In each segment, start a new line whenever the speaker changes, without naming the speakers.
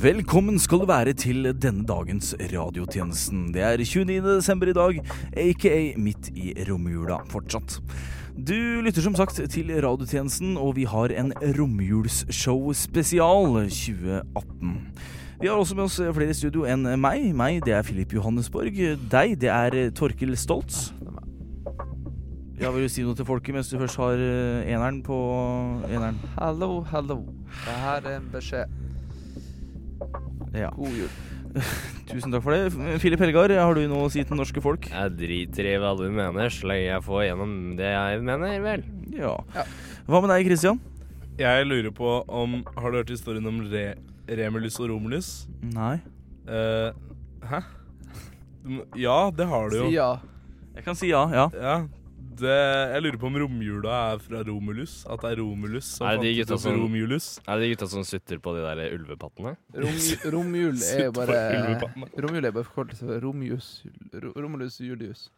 Velkommen skal du være til denne dagens radiotjenesten. Det er 29. desember i dag, aka midt i romjula fortsatt. Du lytter som sagt til radiotjenesten, og vi har en romjulsshow spesial 2018. Vi har også med oss flere i studio enn meg. Meg, det er Filip Johannesborg. Deg, det er Torkil Stoltz. Ja, vil du si noe til folket mens du først har eh, eneren på eneren?
Hallo, hallo. Det her er en beskjed.
Ja.
God jul.
Tusen takk for det. Filip Helgar, har du noe å si til norske folk?
Jeg driter i hva du mener, så lenge jeg får gjennom det jeg mener, vel.
Ja. Hva med deg, Christian?
Jeg lurer på om Har du hørt historien om Re Remulus og Romulus?
Nei.
Eh, hæ? Du må- Ja, det har du jo.
Si ja.
Jeg kan si ja. ja.
Ja, det, jeg lurer på om romjula er fra Romulus? At det er Romulus som
Er det de
fant
gutta
ut
som-
Romulus?
Er det de gutta som sutter på de der ulvepattene?
Rom, romjul er jo
Sitt på
bare
ulvepattene.
Romjul er bare forkortelse for Romjus Ro- Romulus Julius.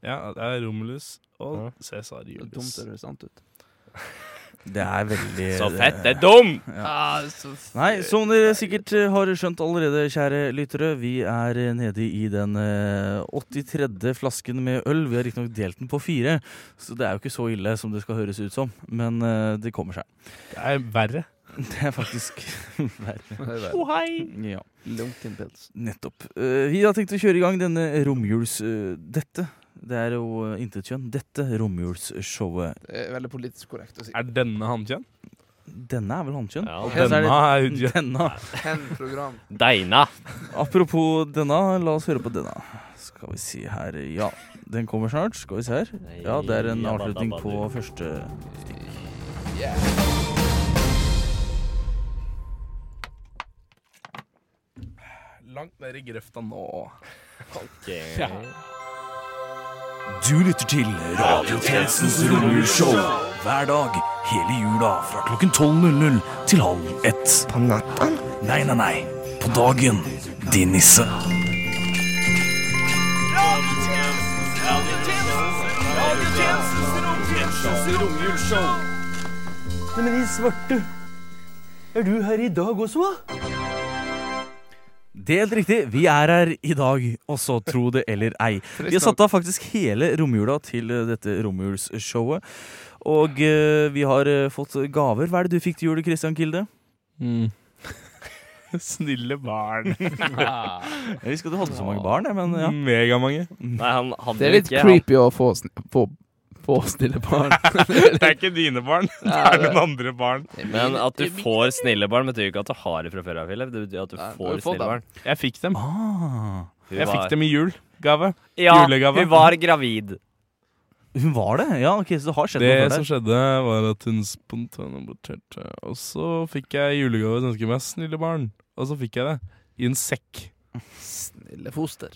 Ja, det er Romulus og
Ja.
Cæsar
Det er dumt
Julius.
det høres sant ut.
Det er veldig
Så fett! Det er dumt!
Ah, så f-
Nei, som dere sikkert eh, har skjønt allerede, kjære lyttere, vi er eh, nede i den eh, 83. flasken med øl. Vi har riktignok delt den på fire, så det er jo ikke så ille som det skal høres ut som. Men eh, det kommer seg.
Det er verre.
Det er faktisk verre.
det er vel
Ja,
Lunken pils.
nettopp. Eh, Vi har tenkt å kjøre i gang denne romjuls... eh, Dette. Det er jo eh, intet kjønn. Dette romjulsshowet.
Det er veldig politisk korrekt å si.
Er denne hannkjønn?
Denne er vel hannkjønn?
Ja,
Ok.
Ja, så er
Denne
det-
er utkjønn.
Denne.
Hen program.
Deina!
Apropos denne, la oss høre på denne. Skal vi si her Ja, den kommer snart. Skal vi se her. Ja, det er en avslutning på første
Yeah.
Langt ned i grøfta nå.
Du lytter til Radiotjenestens romjulsshow hver dag hele jula fra klokken 12.00 til halv ett. På natten? Nei, nei, nei. På dagen, din nisse.
Men i svarte, er du her i dag også, hva?
Det er helt riktig. Vi er her i dag også, tro det eller ei. Vi har satt av faktisk hele romjula til eh, dette romjulsshowet. Og eh, vi har eh, fått gaver. Hva er det du fikk til jul, Christian Kilde?
Snille barn.
Jeg visste ikke at du hadde så mange barn, jeg, men ja. Mm.
Megamange.
Nei, han hadde
Det er litt
ikke
creepy å få, sn- få, få stille barn.
Det er ikke dine barn, det
Nei,
er
det-
noen andre barn.
han. Men at du får snille barn, betyr jo ikke at du har det fra før av, Philip. Det betyr at du
Nei, du har
får
fått
snille barn.
Jeg fikk dem.
Ah,
Hun
Jeg
var-
fikk dem i jul. Gave.
Ja,
julegave.
hun var gravid.
hun var det? Ja, ok, så det har skjedd
Det
noe
som
for deg.
skjedde, var at hun spontanaborterte. Og så fikk jeg julegave som skulle meg snille barn. Og så fikk jeg det i en sekk.
Snille foster.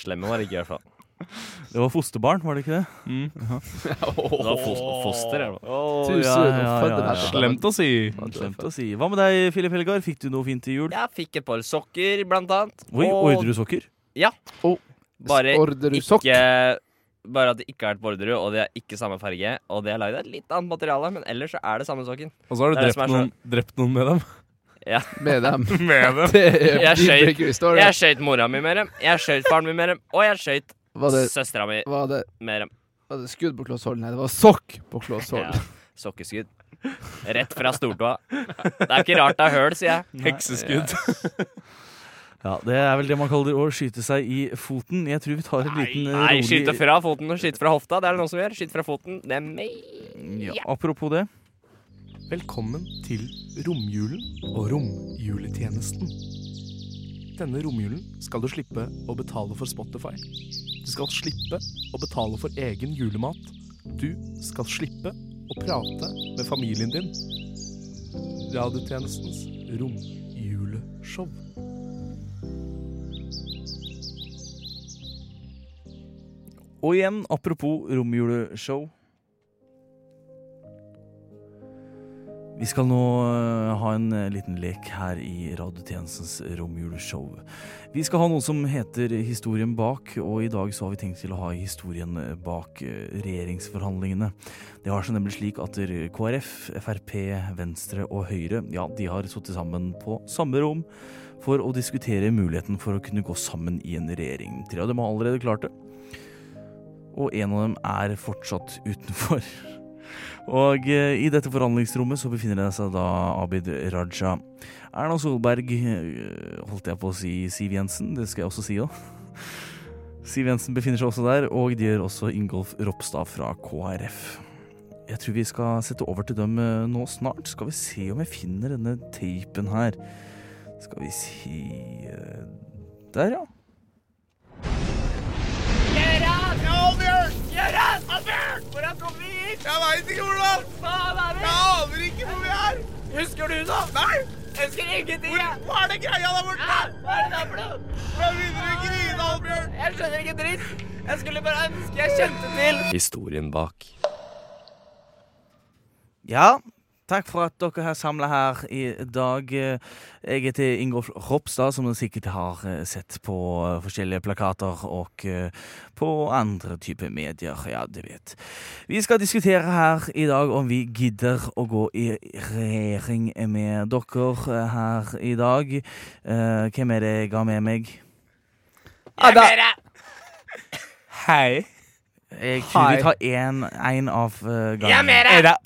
Slemme var det ikke, i hvert fall.
Det var fosterbarn, var det ikke det?
Mm.
Det var fos foster, i hvert fall.
Tusen
ja, ja,
fødder
ja, ja.
her.
Slemt å si.
Glemt å si. Hva med deg, Filip Helgar? Fikk du noe fint til jul?
Jeg fikk et par sokker, blant annet.
Oi, ordresokker?
Bare
Orderud sokk.
ikke Bare at det ikke er et borderud, og det er ikke samme farge. Og det er lagd av litt annet materiale, men ellers så er det samme sokken.
Og så har du
Det er det
drept
som er
noen, drept noen med dem.
med dem.
Med dem?
Det er
Jeg skjøt.
Breaker Story.
Jeg skøyt mora mi med dem, jeg skøyt faren min med dem, og jeg skøyt
Var det,
søstera mi
var, det,
med dem.
var det skudd på Kloss Hold? Nei, det var sokk på Kloss Hold.
Ja. Sokkeskudd. Rett fra stortåa. Det er ikke rart det er høl, sier jeg.
Hekseskudd.
Ja, Det er vel det man kaller å skyte seg i foten. Jeg tror vi tar en liten eh,
Nei,
rolig
skyte fra foten og skyte fra hofta. Det er det noen som gjør. Skyte fra foten. Det er meg.
Mm, Ja, apropos det.
Velkommen til romjulen og romjuletjenesten. Denne romjulen skal du slippe å betale for Spotify. Du skal slippe å betale for egen julemat. Du skal slippe å prate med familien din. Radiotjenestens romjuleshow.
Og igjen, apropos romjuleshow. Vi skal nå eh, ha en eh, liten lek her i radiotjenestens romjuleshow. Vi skal ha noe som heter Historien bak, og i dag så har vi tenkt til å ha historien bak eh, regjeringsforhandlingene. Det har seg nemlig slik at eh, KrF, Frp, Venstre og Høyre, ja, de har sittet sammen på samme rom for å diskutere muligheten for å kunne gå sammen i en regjering. Tre av dem har allerede klart det, og en av dem er fortsatt utenfor. Og eh, i dette forhandlingsrommet så befinner det seg da Abid Raja. Erna Solberg, eh, holdt jeg på å si Siv Jensen, det skal jeg også si òg. Siv Jensen befinner seg også der, og det gjør også Ingolf Ropstad fra KrF. Jeg tror vi skal sette over til dem eh, nå snart. Skal vi se om jeg finner denne tapen her. Skal vi si eh, Der, ja.
Historien bak.
Ja, takk for at dere har samla her i dag. Eh, Jeg heter Ingolf Ropstad, som dere sikkert har eh, sett på eh, forskjellige plakater og eh, på andre typer medier. Ja, du vet. Vi skal diskutere her i dag om vi gidder å gå i regjering med dere eh, her i dag. Eh, Hvem er det jeg har med meg?
Hei.
Jeg tror vi
Hei.
tar én av eh, gangen.
Er det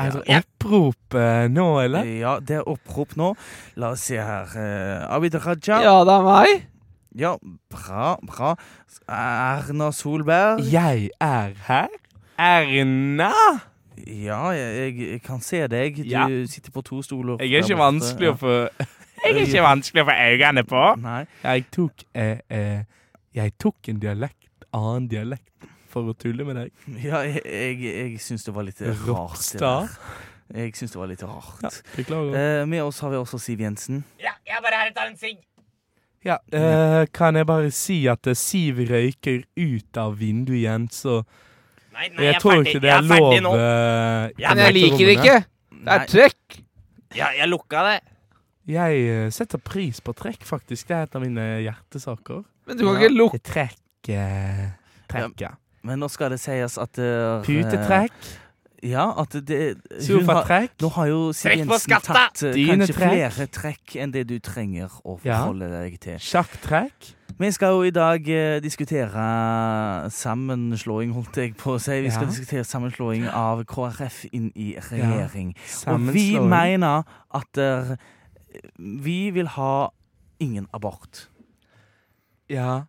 Er det opprop eh, nå, eller?
Ja, det er opprop nå. La oss se her. Eh, Abid Raja.
det er meg.
Ja, bra, bra. Erna Solberg.
Jeg er her. Erna!
Ja, jeg, jeg kan se deg. Du
Ja.
sitter på to stoler.
Jeg er
der
ikke
borte.
vanskelig å få Jeg er ikke vanskelig å få øynene på.
Ja. Nei.
Jeg tok eh, eh, Jeg tok en dialekt, annen dialekt, for å tulle med deg.
Ja, jeg, jeg, jeg syns det var litt rart. det
Ropstad.
der. Jeg syns det var litt rart.
Beklager.
Eh, med oss har vi også Siv Jensen.
Ja, eh, kan jeg bare si at eh, Siv røyker ut av vinduet igjen, så
Nei,
jeg, tror ikke det er lov eh, i
Ja, men
dette
jeg liker
rommet.
ikke. Det
Nei.
er trekk.
Ja, jeg lukka det.
Jeg eh, setter pris på trekk, faktisk. Det er et av mine hjertesaker.
Men du kan ikke lukke
Trekk eh, Trekk, ja.
Men nå skal det sies at eh,
Putetrekk.
Ja, at det hun har-
Sofatrekk.
Nå har jo Siv
Trekk på
Jensen
skatta!
tatt eh,
Dine
kanskje
trekk.
flere trekk enn det du trenger å
Ja.
forholde deg til.
Sjakktrekk.
Vi skal jo i dag eh, diskutere sammenslåing, holdt jeg på å si. Vi skal
Ja.
diskutere sammenslåing av KrF inn i regjering. Og vi
Sammenslåing.
mener at eh, vi vil ha ingen abort.
Ja.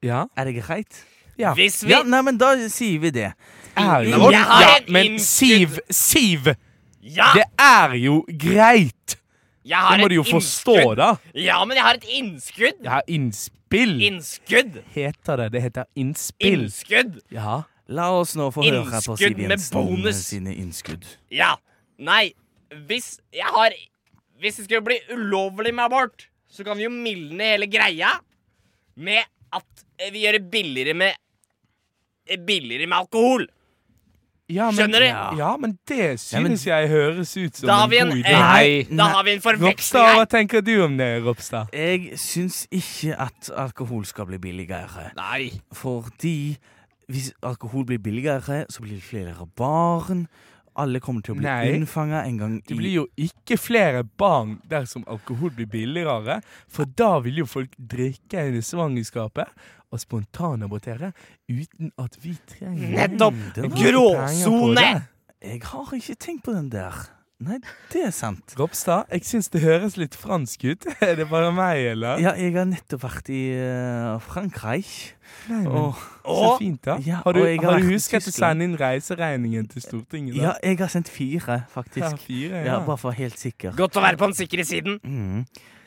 Ja.
Er det greit?
Ja.
Hvis vi
Ja, nei, men da sier vi det.
Er
Jeg
jo
har
Ja,
en
men
innskudd-
Siv, Siv!
Ja!
Det er jo greit!
Jeg
Det
har
må
et
du jo forstå,
innskudd.
da.
Ja, men jeg har et innskudd.
Ja, innspill
Innskudd.
heter det. Det heter innspill.
Innskudd.
Ja.
La oss nå få høre her på
Innskudd
Siv
med
Jensen
bonus.
sine innskudd.
Ja. Nei, hvis jeg har Hvis det skulle bli ulovlig med abort, så kan vi jo mildne hele greia med at vi gjør det billigere med Billigere med alkohol.
Ja, men,
Skjønner du?
Ja, men det
Ja, men-
synes jeg høres ut som
Da har vi en,
god idé.
eh,
Nei,
da
nei.
har vi en forveksling
Ropstad, hva
her.
tenker du om det, Ropstad?
Jeg syns ikke at alkohol skal bli billigere.
Nei.
Fordi hvis alkohol blir billigere, så blir det flere barn. Alle kommer til å bli
Nei.
unnfanga en gang
Det
i
blir jo ikke flere barn dersom alkohol blir billigere, for da vil jo folk drikke under svangerskapet og spontanabortere uten at vi trenger
Nettopp!
Den
Ikke penger på
Gråsone!
det.
Jeg har ikke tenkt på den der. Nei, det er sant.
Ropstad, jeg syns det høres litt fransk ut. Er det bare meg, eller?
Ja, jeg har nettopp vært i eh, Frankrike.
Nei, men,
Og
Så
Og
fint, da.
Ja,
har du,
og jeg har
har
vært
du
i
husket å
Tyskland.
sende inn reiseregningen til Stortinget?
ja,
da?
jeg har sendt fire,
Ja,
faktisk.
fire, ja.
Ja, Bare for å være helt sikker.
godt å være på den sikre siden.
Mm.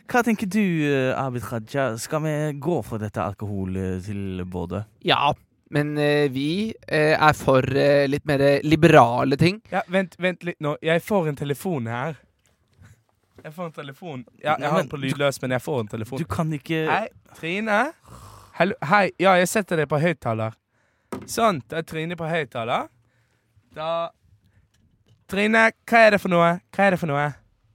Hva tenker du, eh, Abid Raja? Skal vi gå for dette alkoholtilbudet?
Ja, men eh, vi eh, er for eh, litt mer liberale ting.
ja, vent, vent litt nå. Jeg får en telefon her. Jeg får en telefon. Ja,
Nei,
jeg har
men
den på
du-
lydløs, men jeg får en
Du
telefon.
kan ikke
Hei, Trine. Hallo, hei. Ja, jeg setter deg på høyttaler. Sånn, da er Trine på høyttaler. Da Trine, hva er det for noe? Hva er det for noe?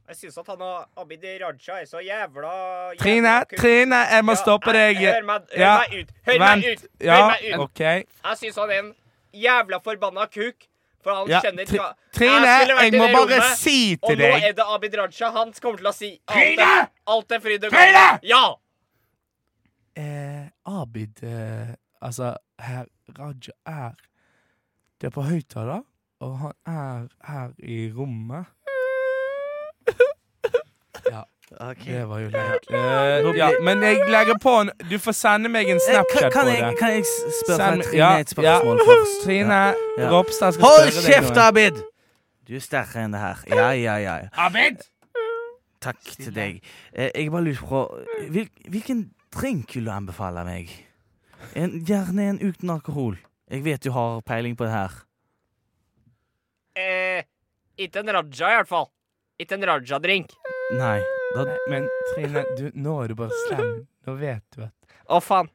Jeg syns at han har- Abid Raja er så jævla jævla
Trine,
kuk.
Trine, jeg må
nei,
stoppe deg.
Hør meg, hør
Ja,
meg ut! Hør
Vent.
meg ut! Hør
Ja,
meg ut!
OK.
Jeg syns han er en jævla forbanna kuk. For han
Ja,
kjenner
Tri-
hva-
Trine,
skulle vært
jeg
i
må
det
bare
rommet,
si
Og
til
nå
deg
er det Abid Raja. Han kommer til å si alt det,
Trine!
alt det fryd og
Trine!
Ja!
eh, Abid eh, Altså, herr Raja er Det er på høyttaler, og han er her i rommet. Ja, det var jo leit. Eh, ja, men jeg legger på en Du får sende meg en Snapchat
Eh, kan,
på
jeg,
det.
kan jeg spørre
Send-
deg Trine
ja,
et spørsmål
ja.
først?
Trine
Ja.
Ropstad skal
Hold
spørre deg
kjeft,
noe.
Abid! Du er sterkere enn det her. Ja, ja, ja.
Abid!
Takk til deg. Eh, Jeg bare lurer på hvil, Hvilken drink vil du anbefale meg? En, gjerne en uten alkohol. Jeg vet du har peiling på det her.
Eh, ikke en Raja, i hvert fall. Ikke en Raja-drink.
Nei. Da,
Men Trine, du, nå er du bare slem. Nå vet du at
Å, faen.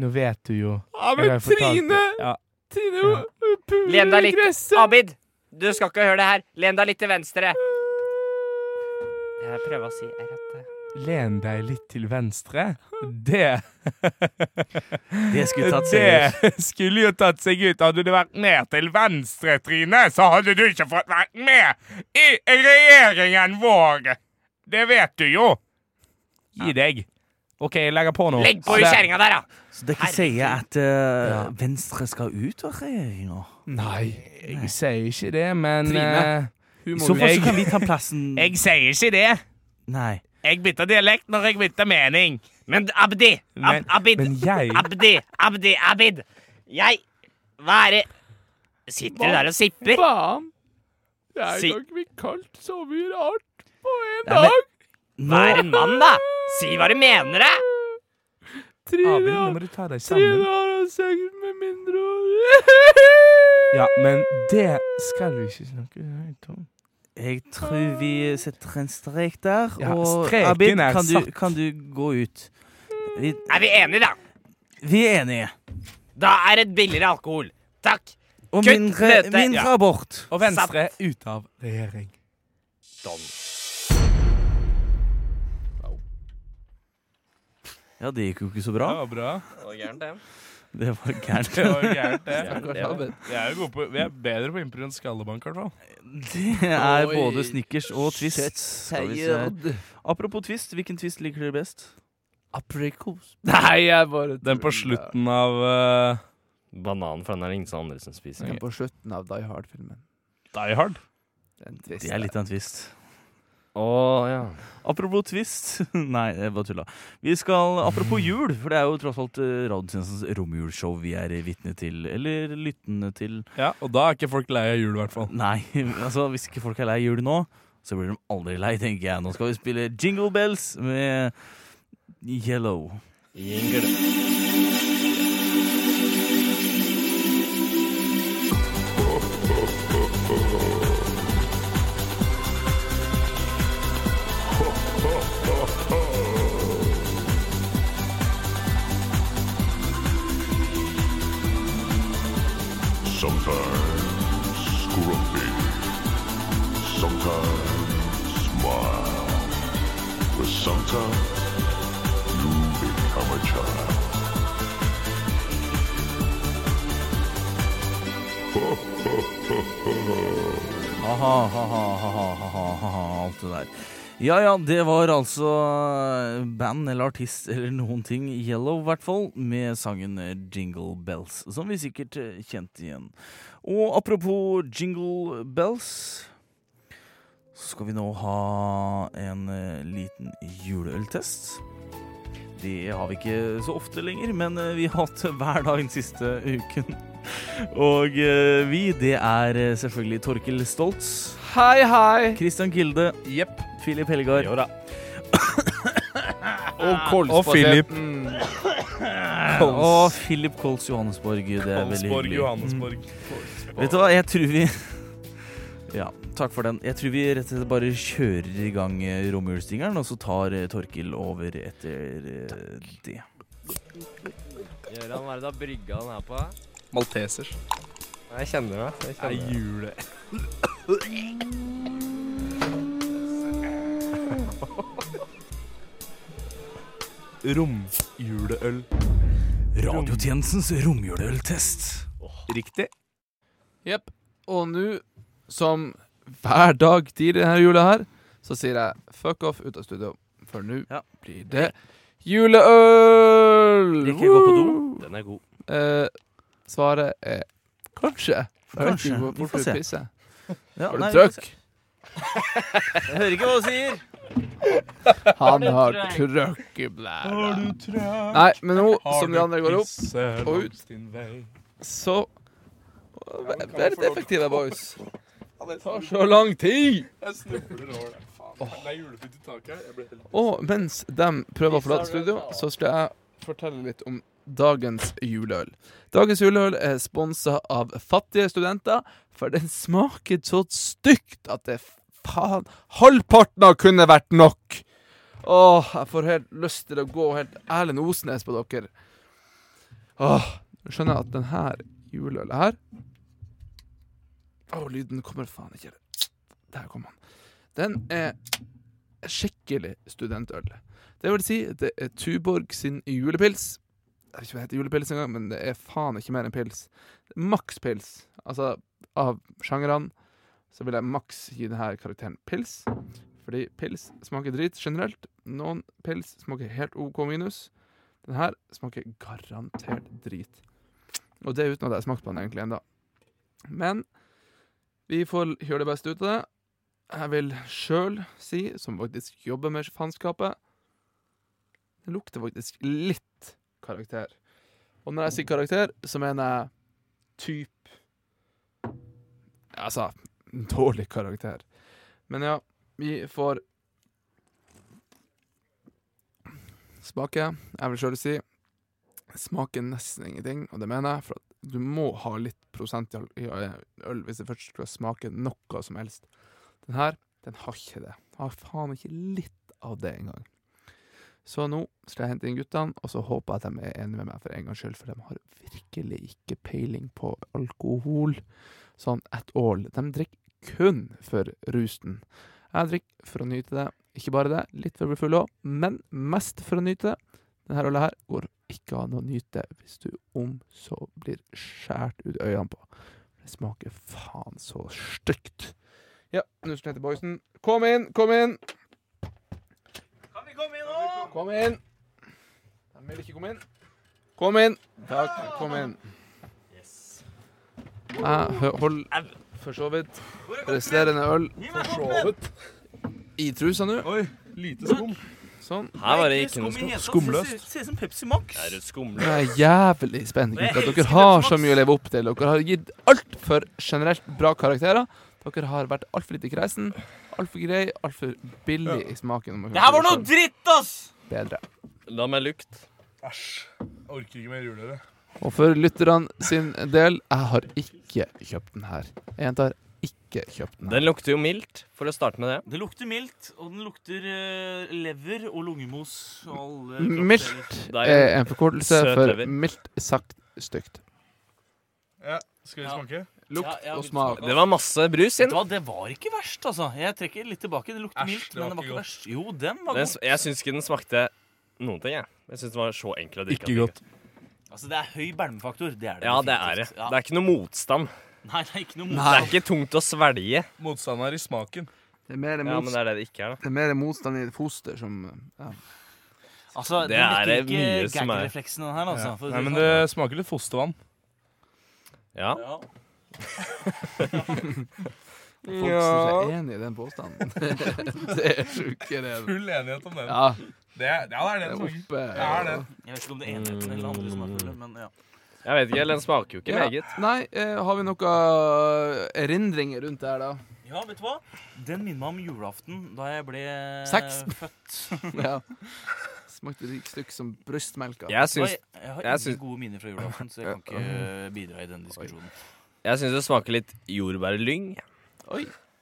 Nå vet du jo
Ja,
Jeg har jo fortalt det. Ja.
Trine
Ja.
Len deg litt.
gresset.
Abid, du skal ikke høre det her. Len deg litt til venstre. Jeg prøver å si er rett. det.
Len deg litt til venstre. Det
det skulle tatt seg ut.
Det skulle jo tatt seg ut. Hadde du vært mer til venstre, Trine, så hadde du ikke fått vært med i regjeringen vår. Det vet du jo. Gi deg. OK, jeg legger på nå.
Legg på i kjerringa der, da!
Så dere sier at eh, Venstre skal ut av regjeringa?
Nei, jeg sier ikke det, men eh,
Trine,
I
Hun
så fall så
Jeg-
kan vi ta plassen
eh, Jeg sier ikke det.
Nei.
Jeg bytter dialekt når jeg bytter mening.
Men Abdi! Ab
Men-
Abid!
men jeg-
Abdi! Abdi! Abid! Jeg Hva er det Sitter du der og sipper?
Faen! Det er
Si-
jo ikke blitt kaldt så mye rart på en
Ja, men-
dag!
Vær en mann, da! Si hva du mener, da!
Abel,
Trine,
nå må du ta deg sammen.
Trine har hatt sex med mindreårige!
Ja, men det skal vi ikke snakke høyt om.
Jeg tror vi setter en strek der.
Ja,
og
streken
Abid,
er
kan du,
satt.
kan du gå ut? Vi,
Er vi enige, da?
vi er enige.
Da er det billigere alkohol. Takk.
Og
Kutt
mindre,
møtet.
mindre
Ja.
abort.
Og Venstre er ut av regjering.
Ja, det gikk jo ikke så bra.
var bra.
Det var gærent.
Det var gærent, det.
Stakkars Abid.
Vi er, jo gode på, vi er bedre på impro enn Skallebank, i hvert fall.
Det er
Oi.
både snickers og twist. Skal vi se.
Tired.
Apropos twist, hvilken twist liker dere best?
Aprikos. Nei, jeg bare
Den på
tuller.
slutten av eh,
Bananen fra den er det ingen som andre som spiser.
Den på slutten av Die Hard-filmen.
Die Hard.
Den triste.
Det er litt av en twist.
Å, ja.
Apropos twist Nei, det var tulla. Vi skal Apropos jul, for det er jo tross alt eh, Radiotjenestens romjulsshow vi er vitne til, eller lyttende til.
Ja, og da er ikke folk lei av jul, i hvert fall.
Nei, altså hvis ikke folk er lei jul nå, så blir de aldri lei, tenker jeg. Nå skal vi spille Jingle Bells med Yellow.
Sometimes grumpy, sometimes smile, but sometimes you become a child.
Ha-ha, ha-ha, ha-ha, ha-ha, ha-ha, alt det der. Ja ja, det var altså band eller artist eller noen ting, Yellow i hvert fall, med sangen eh, Jingle Bells, som vi sikkert eh, kjente igjen. Og apropos Jingle Bells, så skal vi nå ha en eh, liten juleøltest. Det har vi ikke så ofte lenger, men eh, vi har hatt det hver dag den siste uken. Og eh, vi, det er eh, selvfølgelig Torkil Stoltz,
Hei, hei!
Christian Kilde,
Jepp.
Filip Hellegard
Og
Og Philip.
og Philip Kols Johannesborg. Det er veldig
Kongsborg,
hyggelig.
Johannesborg.
Mm. Vet du hva, jeg tror vi Ja, takk for den. Jeg tror vi rett og slett bare kjører i gang eh, romjulstingeren, og så tar eh, Torkil over etter eh, det.
Gøran, hva er det du har brygga den her på?
Maltesers.
Jeg kjenner det. Jeg
Det er
kjenner det.
jule.
Romjuleøl.
Mm.
Radiotjenestens romjuleøltest.
Riktig.
Jepp. Og nå, som hver dag tidligere denne jula her, så sier jeg fuck off ut av studio. For nå
Ja.
blir det juleøl!
Ikke gå på do.
Woo!
Den er god.
Eh, svaret er kanskje.
Kanskje. Vi
Vi
får
får
se.
Pisse.
Ja,
Har du
nei,
trøkk?
Jeg hører ikke hva du sier.
Han har trøkk i blæra. Nei, men nå som de andre går opp, og ut. så Vær vær litt effektive, boys. Det tar så lang tid!
Jeg snubler over det. Faen. Det er julepynt i taket her. Jeg ble helt
Og mens de prøver å forlate studio, så skal jeg fortelle litt om dagens juleøl. Dagens juleøl er sponsa av fattige studenter, for den smaker så stygt at det faen Halvparten av kunne vært nok! Åh, jeg får helt lyst til å gå helt Erlend Osnes på dere. Åh, du skjønner at den her juleølet her Åh, lyden kommer faen ikke. Der kom han. Den er skikkelig studentøl. Det vil si, det er Tuborg sin julepils. Jeg vet ikke hva det heter julepils engang, men det er faen ikke mer enn pils. Maks pils. Altså, av sjangrene så vil jeg maks gi denne karakteren pils. Fordi pils smaker drit generelt. Noen pils smaker helt OK minus. Den her smaker garantert drit. Og det er uten at jeg har smakt på den egentlig ennå. Men vi får gjøre det beste ut av det. Jeg vil sjøl si, som faktisk jobber med faenskapet Det lukter faktisk litt karakter. Og når jeg sier karakter, så mener jeg typ Altså dårlig karakter. Men ja, vi får smake. Jeg vil sjøl si smaker nesten ingenting, og det mener jeg, for at du må ha litt prosent i øl- i eh, øl hvis det først skal smake noe som helst. Den her, den har ikke det. Den Har faen ikke litt av det engang. Så nå skal jeg hente inn guttene, og så håper jeg at de er enige med meg for en gangs skyld, for de har virkelig ikke peiling på alkohol sånn at all. De drikker kun for rusen. Jeg drikker for å nyte det. Ikke bare det, litt for å bli full òg, men mest for å nyte det. Denne ølet her går ikke an å nyte hvis du om så blir skåret ut øynene på. Det smaker faen så stygt. Ja, nå skal jeg hente boysen. Kom inn, kom inn! Kan vi komme inn nå? Kom inn! De vil ikke komme inn. Kom inn! Takk, kom inn. Jeg hø- holder for så vidt resterende øl i trusa nå.
Oi, lite skum.
Sånn.
Her var det ikke noe
sånn,
skum.
Skumløst.
Ser ut som Pepsi Max.
Er det
Jeg
skumle?
er jævlig spent. Gutta. Dere har så mye å leve opp til. Dere har gitt altfor generelt bra karakterer. Dere har vært altfor lite kresen, altfor grei, altfor billig i smaken. om man kan
Det her
si
var noe
sånn.
dritt, ass!
Bedre.
La meg lukte.
Æsj. Jeg orker ikke mer juleøl. jeg.
Og for lytterne sin del, jeg har ikke kjøpt den her. Jeg gjentar ikke kjøpt den her.
Den lukter jo mildt, for å starte med det.
Det lukter mildt, og den lukter eh, lever og lungemos. Og alle kroppsdeler.
Mildt
Det er
er en forkortelse
søt
for
lever.
mildt sagt stygt.
Ja, skal vi
Ja.
smake?
Ja,
Lukt
ja,
og
vi
smak.
smaker.
Det var masse brus
Vet
inn.
du hva, det var ikke verst, altså. Jeg trekker litt tilbake. Det lukter
Æsj,
mildt,
det var
men det var
ikke
ikke
godt.
verst. Jo, den var
Den,
god.
jeg syns ikke den smakte noen ting, jeg. Jeg syns den var så enkel å drikke. at det
Altså, det er høy belmefaktor. Det er det.
Ja, det er det.
definitivt. Ja.
Det er ikke noe motstand.
Nei, det er ikke noe
Det
motstand.
er ikke tungt å svelge.
Motstander i smaken.
Det er mer
Ja, men det er det det ikke er, da.
Det er mer motstand i et foster som ja.
Altså,
Det
det
er det
ikke
mye som er.
gag-refleksen, den her, altså.
Ja.
for å si
Nei, men
sånn.
det smaker litt fostervann.
Ja.
Ja.
Folk som er enig i den påstanden. det er sjukere.
Full enighet om den.
Ja,
Det, er- ja, det er
det er
den smaken.
oppe.
Det er det.
Jeg vet ikke om det er enheten eller andre som er fulle, men ja.
Jeg vet ikke, den smaker jo ikke
Ja.
meget.
Nei, eh, har vi noe eh, erindringer rundt det her, da?
Ja, vet du hva? Den minner meg om julaften da jeg ble
Sex.
født.
Ja. Smakte rik stykk som brystmelka.
Jeg
Jeg,
syns,
jeg har
jeg
ingen
syns-
gode minner fra julaften, så jeg kan ikke bidra i den diskusjonen.
jeg syns det smaker litt jordbærlyng.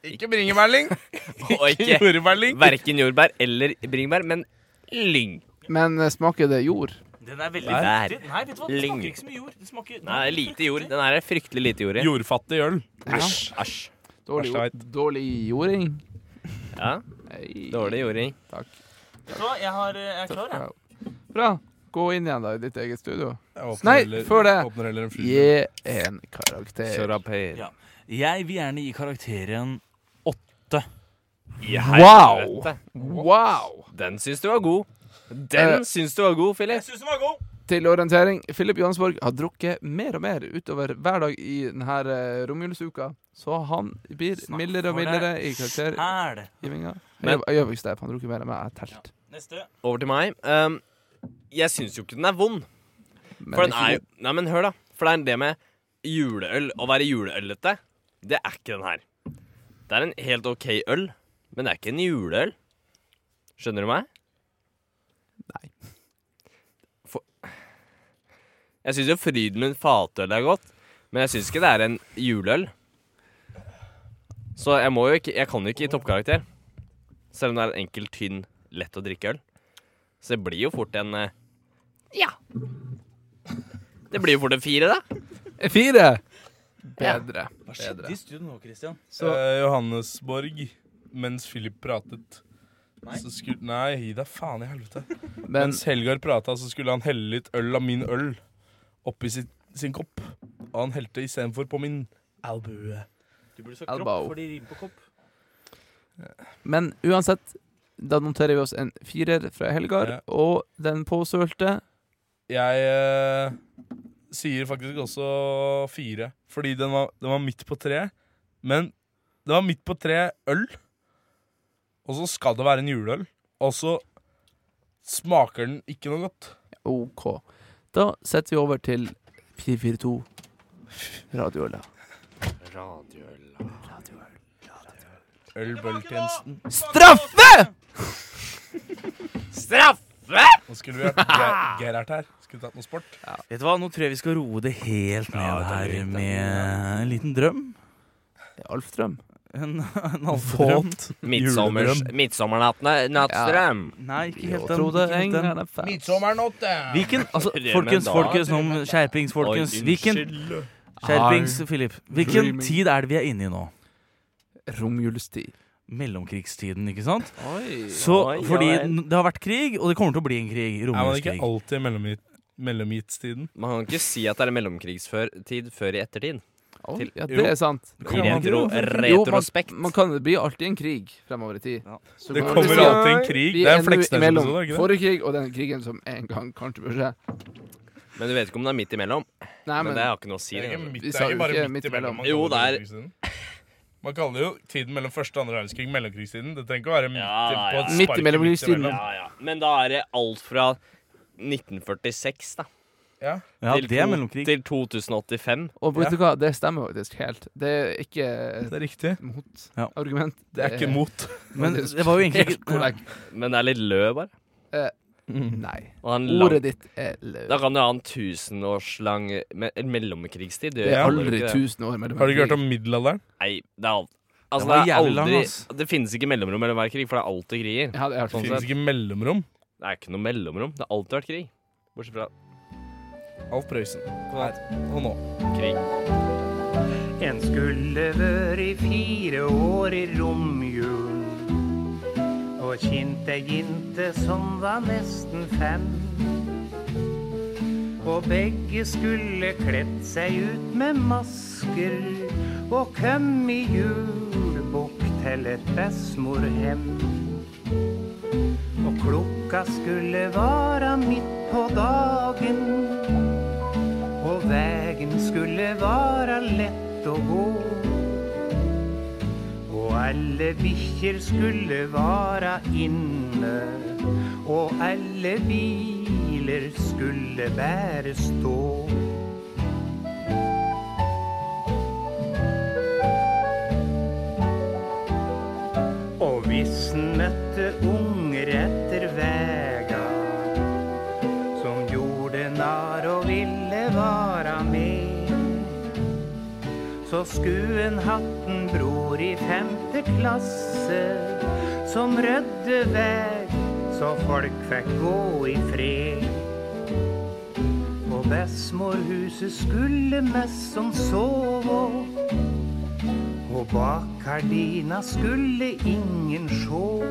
Ikke bringebærling.
Og ikke
Jordbærling.
verken jordbær eller bringebær, men lyng.
Men eh, smaker det jord?
Den er veldig
Vær
viktig. Nei, vet du hva? Det
lyng.
smaker ikke så mye jord. Det smaker
Nei, lite jord. Den er det fryktelig lite jord i.
Jordfattig øl.
Ja.
Æsj.
Dårlig,
Flashlight.
dårlig jording.
Ja,
Nei.
Dårlig jording.
Takk.
Vet du hva, jeg, har, eh, jeg er klar, jeg.
Ja. Bra. Gå inn igjen da i ditt eget studio.
Jeg åpner
Nei,
heller-
før det.
Åpner heller
Mm.
en flyver.
Gi en
Eh.
karakter.
Sørapir.
Ja.
Jeg vil gjerne gi karakteren
Wow! Wow!
Den syns du var god. Den
Eh.
syns du var god, Philip.
Jeg syns den var god.
Til orientering, Philip Johansborg har drukket mer og mer utover hver dag i denne eh, romjulsuka, så han blir
Snakk
mildere og
for
mildere i
Hæl.
karaktergivinga.
Men-
Jeg jeg gjør ikke det, for han drukker mer enn meg. Jeg telte.
Neste.
Over til meg. Um, jeg syns jo ikke den er vond.
Men
For den
ikke
er jo Nei, men hør, da. For det er det med juleøl, å være juleølete, det er ikke den her. Det er en helt OK øl, men det er ikke en juleøl. Skjønner du meg?
Nei.
For Jeg syns jo Fryden med fatøl er godt, men jeg syns ikke det er en juleøl. Så jeg må jo ikke Jeg kan jo ikke gi toppkarakter. Selv om det er en enkel, tynn, lett å drikke øl. Så det blir jo fort en eh, Ja. Det blir jo fort en fire, da.
god. Fire! Bedre.
Hva
skjedde
skjedde i studio nå, Christian?
Eh, Johannesborg, mens Philip pratet så skulle, Nei, gi deg faen i helvete.
Men
Mens Helgar prata, så skulle han helle litt øl av min øl oppi sin, sin kopp. Og han helte istedenfor på min albue.
Du burde sagt
kropp, Elbow. for
de rimer på kopp.
Men uansett, da noterer vi oss en firer fra Helgar,
Ja.
og den påsølte
Jeg eh, sier faktisk også fire, fordi den var, den var midt på tre. Men det var midt på tre øl, og så skal det være en juleøl. Og så smaker den ikke noe godt.
OK. Da setter vi over til 442 Radioøla.
Ølbøltjenesten.
Straffe!
Straffe!
Nå skulle vi hatt Ge- Gerhard her. Skulle tatt noe sport.
Vet du hva, Nå tror jeg vi skal roe det helt ned
Ja, det er
her
greit, det.
med en liten drøm.
Alf Drøm.
En, en halvdrøm.
Midtsommers,
Juledrøm.
Midtsommernattstrøm.
Nei, ikke helt den.
Frode
Ikke helt
Eng
den.
er en fan.
Hvilken, altså,
Tre med
folkens,
dag.
folkens, nå, må- skjerpings, folkens. Hvilken, skjerpings, Philip. Hvilken
Dreaming.
tid er det vi er inne i nå?
Romjulstid.
Mellomkrigstiden, ikke sant?
Oi.
Så,
Oi,
fordi
ja vel.
n- det har vært krig, og det kommer til å bli en krig.
Er man ikke
Romerskrig.
alltid i mellomhit- mellomhitstiden?
Man kan ikke si at det er mellomkrigstid før i ettertid.
Oi,
Til-
ja,
Jo.
det er sant.
Det kan man
Retro,
tro.
Jo, man,
retrospekt.
man kan, det blir alltid en krig fremover i tid.
Ja.
Så
Det
kan man
kommer
si-
alltid en krig.
liksom- Vi
Det er
nå
en
imellom
Fleksnes-episode, er det ikke det?
forrige krig og den krigen som en gang kanskje bør skje.
Men du vet ikke om det er midt imellom.
Nei,
Men
men
det har ikke noe å si.
Det er
det. altså.
ikke midt,
Vi
det
sa
er
jo
ikke bare
ikke
midt
midt
imellom. man
imellom.
kaller
Jo,
mellomkrigstiden. Man kaller jo tiden mellom første og andre verdenskrig mellomkrigstiden. Det trenger ikke å være midt,
Ja, ja, ja.
på et
Midt
spark
imellom krigstiden.
imellom.
Ja, ja. Men da er det alt fra 1946 da,
Ja.
Ja,
til,
det er
to-
mellomkrig.
til 2085.
Og vet du hva, det stemmer faktisk helt. Det er ikke
Det er riktig.
et mot
Ja.
argument.
Det er ikke mot.
Men det var jo egentlig
Helt
ikke
korrekt.
Men det er litt lø, bare.
Nei.
Og han lang,
Ordet ditt er løgn.
Mm. da kan du ha en tusenårslang me en mellomkrigstid.
Det er
Ja.
aldri tusen år mellom
Har du ikke hørt
krig.
om middelalderen?
Sånn
Nei, det er alt. Altså,
Den var
det, er
jævlig lang,
aldri,
ass.
det finnes ikke mellomrom mellom hver krig, for det er alltid kriger.
Ja, det har jeg hørt
Det
om.
finnes ikke mellomrom.
Det er ikke noe mellomrom. Det har alltid vært krig. Bortsett fra
Alf Prøysen. Her og nå.
krig.
En skulle vært fire år i romjulen og kjent ei jente som var nesten fem. Og begge skulle kledd seg ut med masker og kom i julebukk til et bestemorhem. Og klokka skulle være midt på dagen. Og vägen skulle vara lätt att gå Och alla bikkjer skulle vara inne Och alla biler skulle bare stå Og hvis en møtte unger etter vägar som gjorde narr og ville vara med. Så skulle en hatt en bror i femte klasse som rødde veg så folk fikk gå i fred. Og bestemorhuset skulle mest som sove. Og og bak gardina skulle ingen sjå.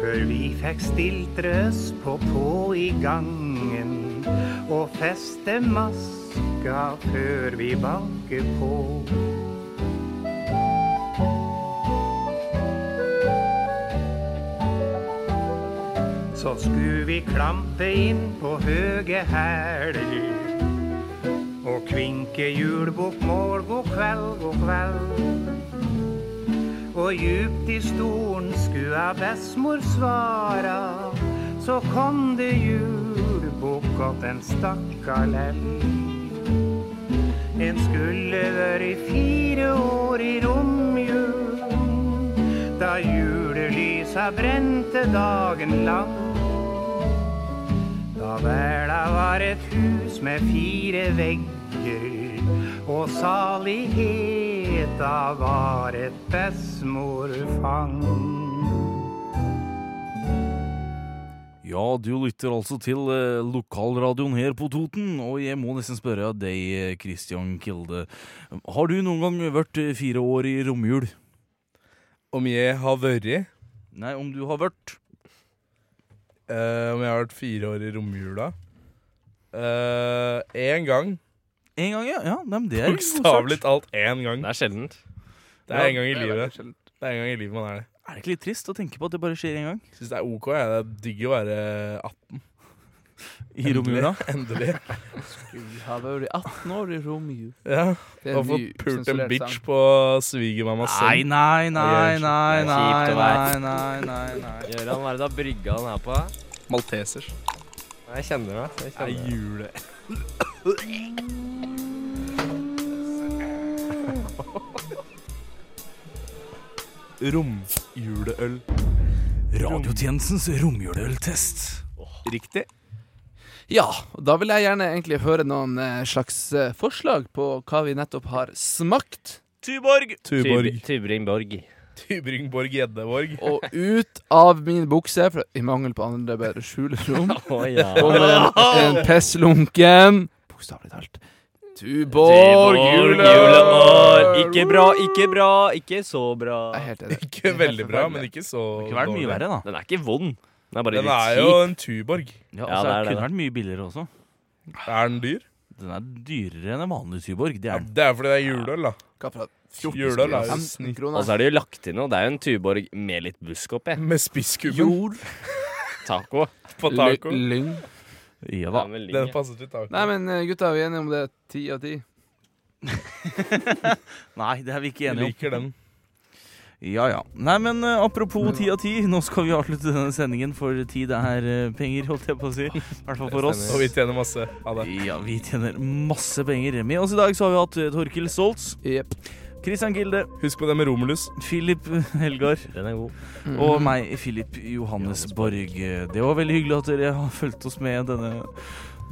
Før vi fikk stilt røs på på i gangen og feste maska før vi banker på. Så skulle vi klampe inn på høge hæler og kvinke julebukk mål god kveld, god kveld. Og djupt i stolen skua bestemor svara, så kom det julebukk åt en stakkar lell. En skulle væri fire år i romjulen, da julelysa brente dagen lang. Da verda var et hus med fire vegger, og saligheta var et bestemorfang.
Ja, du lytter altså til eh, lokalradioen her på Toten, og jeg må nesten spørre deg, eh, Christian Kilde. Har du noen gang vært eh, fire år i romjul?
Om jeg har vært?
Nei, om du har vært.
Eh, om jeg har vært fire år i romjula? Én gang.
Én gang, ja. ja nei, men det er jo
Bokstavelig talt én gang.
Det er sjeldent.
Det er én gang
Ja,
i
det er
livet.
sjeldent.
Det er en gang i livet man er det.
Er det ikke litt trist å tenke på at det bare skjer én gang?
Syns det er OK. Jeg. Det er digg å være 18.
I romjula?
Endelig.
Skulle ha vært 18 år i romjul.
Ja.
Det er
Og
en
fått
ny
pult en
sensurert
bitch
sang.
på svigermammas
Nei,
seng.
nei, nei,
Det er
nei, nei,
kjipt
nei,
å være-
nei, nei, nei.
Gøran, hva er det du har brygga den her på?
Maltesers.
Jeg kjenner det. Jeg
Det er
kjenner det.
jule. Romjuleøl.
Radiotjenestens romjuleøltest.
Riktig.
Ja, og da vil jeg gjerne egentlig høre noen eh, slags eh, forslag på hva vi nettopp har smakt.
Tuborg!
Tuborg.
Tubringborg.
Tybringborg Gjeddeborg.
Og ut av min bukse, for i mangel på andre bedre skjulerom,
Å ja.
kommer en, en pesslunken Bokstavelig talt. Tuborg,
juleår.
juleår.
Ikke bra, ikke bra, ikke så bra.
Jeg er helt enig.
Ikke veldig bra, men ikke så
Det kunne vært mye verre, da.
Den er ikke vond. Den er bare
Den
litt
er
kjip.
jo en Tuborg.
Ja,
Ja,
altså,
det
det
er det,
kunne
da.
vært mye billigere også.
Er den dyr?
Den er dyrere enn en vanlig Syborg. Det er den.
Det er fordi det er juleøl, da.
Hva for noe?
Juleøl er jo
15
Og
snitt
kroner.
så er det jo lagt til noe. Det er jo en Tuborg med litt busk oppi.
med spisskubben
Taco.
på
Ly-
taco.
Lyng.
Ja
Det
da.
er med
Den
linje.
passer til taco.
Nei, men eh, gutta, vi er enige om det. Ti av ti.
Nei, det er vi ikke
Jeg
enige om.
liker den.
Ja, ja. Nei, men eh, apropos ti av ti, nå skal vi avslutte denne sendingen, for tid er eh, penger, holdt jeg på å si. I hvert fall for oss.
Og vi tjener masse. Ha det.
Ja, vi tjener masse penger. Med oss i dag så har vi hatt eh, Torkil Stoltz,
Jepp.
Christian Gilde,
Husk på det med Romulus.
Philip Helgar
Den er god.
og meg, Philip Johannesborg. Det var veldig hyggelig at dere har fulgt oss med denne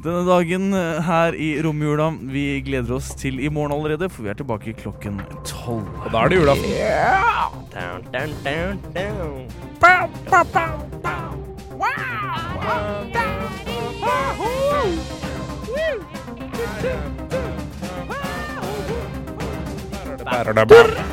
denne dagen eh, her i romjula. Vi gleder oss til i morgen allerede, for vi er tilbake klokken tolv.
Og da er det julaften.
Down, down, down, down.
Bærer deg bæ.